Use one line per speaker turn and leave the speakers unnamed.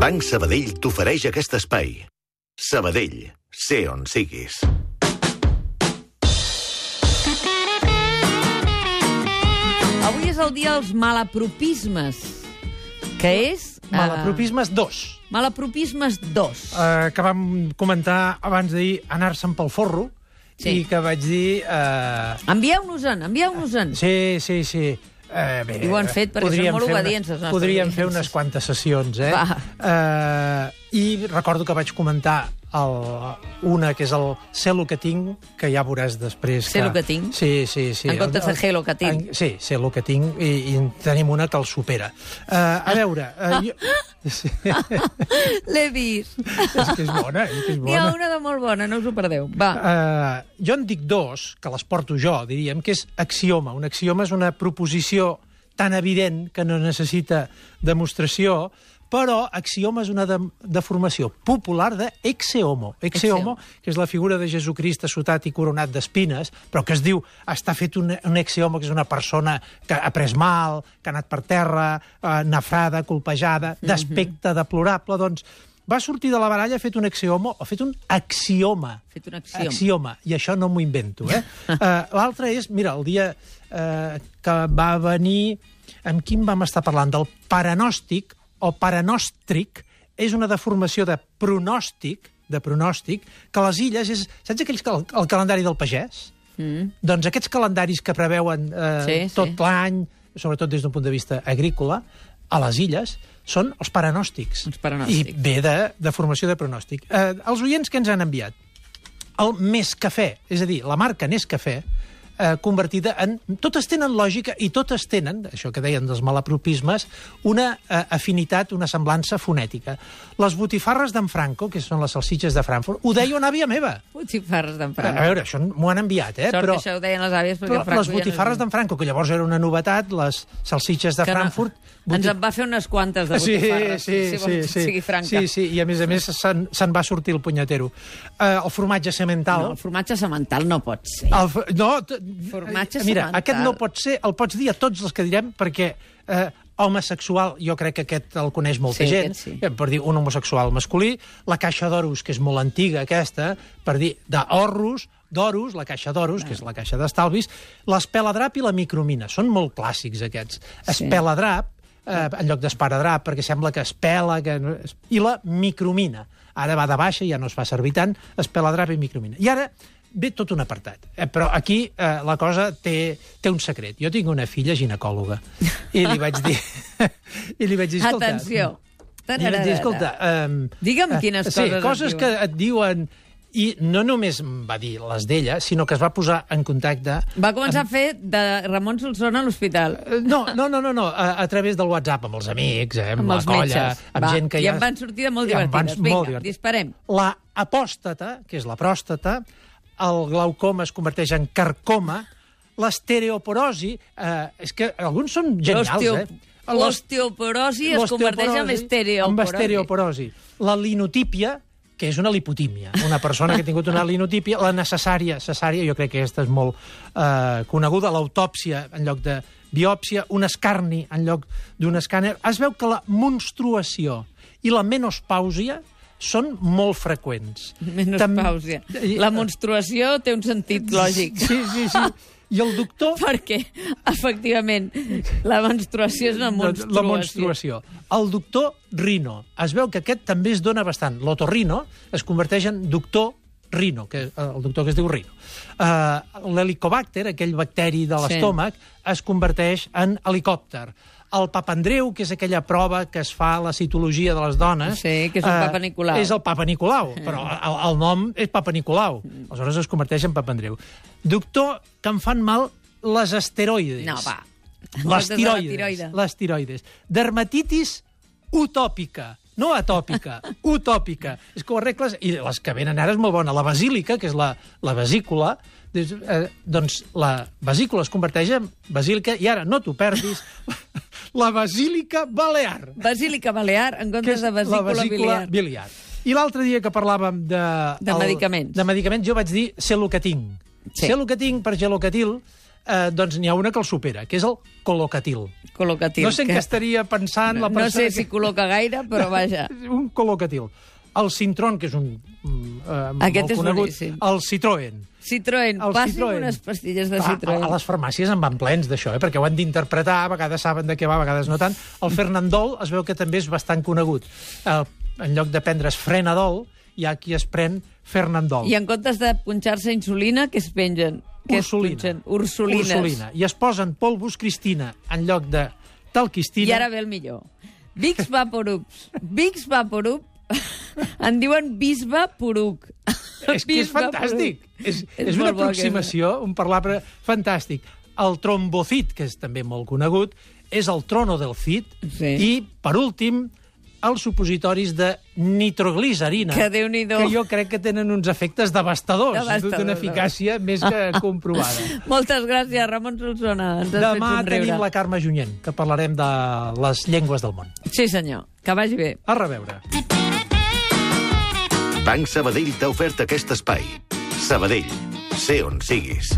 Banc Sabadell t'ofereix aquest espai. Sabadell, sé on siguis.
Avui és el dia dels malapropismes, que és... eh,
Malapropismes 2,
malapropismes 2.
eh, que vam comentar abans d'ahir anar-se'n pel forro,
Sí.
i que vaig dir... Eh,
Envieu-nos-en, envieu-nos-en.
sí, sí, sí. Eh, bé,
I ho han fet perquè són
podríem
molt
fer una-
obedients, els nostres
Podríem
oients.
fer unes quantes sessions, eh?
Va.
eh? I recordo que vaig comentar el, una, que és el Sé lo que tinc, que ja veuràs després.
Sé lo que tinc?
Sí, sí, sí.
En comptes de Sé lo que tinc.
en- sí, Sé lo que tinc, i, i en tenim una que el supera. Eh, a veure... Eh, jo... sí,
L'he vist.
és que és bona, és que és
N'hi ha
bona.
una de molt bona, no us ho perdeu. Va,
Eh, jo en dic dos, que les porto jo, diríem, que és axioma. Un axioma és una proposició tan evident que no necessita demostració, però axioma és una de deformació popular de exe homo. Exe homo, que és la figura de Jesucrist assotat i coronat d'espines, però que es diu, està fet un, un exe homo, que és una persona que ha pres mal, que ha anat per terra, eh, nafrada, colpejada, d'aspecte deplorable, doncs va sortir de la baralla, ha fet un axiomo, ha fet un axioma
fet un axioma.
axioma, i això no m'ho invento, eh? uh, L'altre és, mira, el dia uh, que va venir... Amb quin vam estar parlant? Del paranòstic o paranòstric és una deformació de pronòstic, de pronòstic, que a les illes és... Saps aquells cal, el calendari del pagès?
Mm.
Doncs aquests calendaris que preveuen eh,
Sí,
sí, tot
sí.
sí. l'any, sobretot des d'un punt de vista agrícola, a les illes, són els paranòstics.
Els paranòstics.
I ve de, de formació de pronòstic. Eh, els oients que ens han enviat, el Més Cafè, és a dir, la marca Nescafè, eh, convertida en... Totes tenen lògica i totes tenen, això que deien dels malapropismes, una eh, afinitat, una semblança fonètica. Les botifarres d'en Franco, que són les salsitxes de Frankfurt, ho deia una àvia meva.
botifarres d'en
A
Franco.
veure, això m'ho han enviat,
Ah.
eh?
Sort
però...
que això ho deien les àvies, perquè
Però
en Franco
les botifarres
ja
d'en Franco, que llavors era una novetat, les salsitxes de
Que no-
Frankfurt...
no... Ens en va fer unes quantes de
Sí,
botifarres,
sí,
si
sí,
vols que
sí.
sigui franca.
sí, sí, i a més a més se'n se'n va sortir el punyetero. Uh, el formatge
No,
semental...
el formatge semental no pot ser.
El, f- no, t- eh,
Formatge
Mira,
semental.
aquest no pot ser, el pots dir a tots els que direm, perquè eh, homosexual, jo crec que aquest el coneix molta
Sí,
gent,
aquest sí.
eh, per dir un homosexual masculí, la caixa d'oros, que és molt antiga aquesta, per dir d'orros, d'oros, la caixa d'oros, que és la caixa d'estalvis, l'espeladrap i la micromina, són molt clàssics aquests.
Sí.
Espeladrap, eh, en lloc d'esparadrap, perquè sembla que es pela, que... no- i la micromina. Ara va de baixa, ja no es fa servir tant, espeladrap i micromina. I ara ve tot un apartat. Eh, però aquí eh, la cosa té, té un secret. Jo tinc una filla ginecòloga i li vaig dir... i li vaig dir, escolta...
Atenció.
I vaig dir, escolta... Um,
Digue'm quines
sí,
coses et
coses que et diuen... I no només em va dir les d'ella, sinó que es va posar en contacte
Va començar a fer de Ramon Solsona a l'hospital.
Eh, No, no, no, no, no. A, a través del WhatsApp, amb els amics, eh, amb,
Amb
la
els
colla,
metges.
amb
Va,
gent que
i
ja...
en van sortir de molt
I en van
divertides. Vinga,
molt divertides.
disparem.
La apòstata, que és la pròstata, el glaucoma es converteix en carcoma, l'estereoporosi, eh, és que alguns són genials, eh? L'os-
L'osteoporosi es converteix en
amb
estereoporosi.
estereoporosi. La linotípia, que és una lipotímia. Una persona que ha tingut una linotípia, la necessària, cesària, jo crec que aquesta és molt eh, coneguda, l'autòpsia en lloc de biòpsia, un escarni en lloc d'un escàner. Es veu que la monstruació i la menopàusia són molt freqüents.
Menopàusia.
Tam-
La menstruació té un sentit lògic.
Sí, sí, sí. I el doctor...
Perquè, efectivament, la menstruació és una monstruació.
La menstruació. Doncs, El doctor Rino. Es veu que aquest també es dona bastant. L'otorrino es converteix en doctor Rino, que eh, el doctor que es diu Rino. Uh, L'helicobacter, aquell bacteri de
Sí.
l'estómac, es converteix en helicòpter. El papandreu, que és aquella prova que es fa a la citologia de les dones...
Sí, que és un
eh,
Papa Nicolau.
És el Papa Nicolau, però el, el nom és Papa Nicolau. Aleshores es converteix en papandreu. Doctor, que em fan mal les esteroides.
No, va.
Les
Totes de la
tiroides.
tiroide.
Les tiroides. Dermatitis utòpica. No atòpica, utòpica. És que ho arregles... I les que venen ara és molt bona. La basílica, que és la, la vesícula, des, eh, doncs la vesícula es converteix en basílica, i ara no t'ho perdis, la basílica balear.
Basílica balear en
que
comptes
és
de vesícula,
la vesícula
biliar.
biliar. I l'altre dia que parlàvem de...
De medicaments.
De medicaments, jo vaig dir sé lo que tinc.
Sí.
Sé lo que tinc per gelocatil, eh, doncs n'hi ha una que el supera, que és el col·locatil.
Col·locatil.
No sé en què estaria pensant la
No sé
persona...
si col·loca gaire, però vaja.
que... Un col·locatil. El Sintron, que és un... mm, Eh, molt
Aquest és
conegut.
boníssim.
El Citroën.
Citroën,
El Ah,
passin
Citroën.
unes pastilles de
Clar,
Citroën.
A, a les farmàcies en van plens d'això, eh? perquè ho han d'interpretar, a vegades saben de què va, a vegades no tant. El Fernandol es veu que també és bastant conegut. Eh, en lloc de prendre's Frenadol, hi ha qui es pren Fernandol.
I en comptes de punxar-se insulina, que es pengen? Que
Ursulina.
Es punxen? Ursulines.
Ursulina. I es posen polvos Cristina en lloc de
I
talquistina.
ara ve el millor. Vicks Vaporups. Vicks Vaporup. en diuen bisbe poruc.
És que és
Bisbe
fantàstic.
poruc.
És, és una
molt bo, aquest.
aproximació, un parlabre fantàstic. El trombocit, que és també molt conegut, és el trono del cit.
Sí.
I, per últim, els supositoris de nitroglicerina.
Que Déu-n'hi-do.
Que jo crec que tenen uns efectes devastadors.
Devastadors, Doncs
D'una eficàcia més que comprovada.
Moltes gràcies, Ramon Solsona. Ens has fet
Demà
somriure.
tenim la Carme Junyent, que parlarem de les llengües del món.
Sí, senyor. Que vagi bé.
A reveure.
Banc Sabadell t'ha ofert aquest espai. Sabadell, sé on siguis.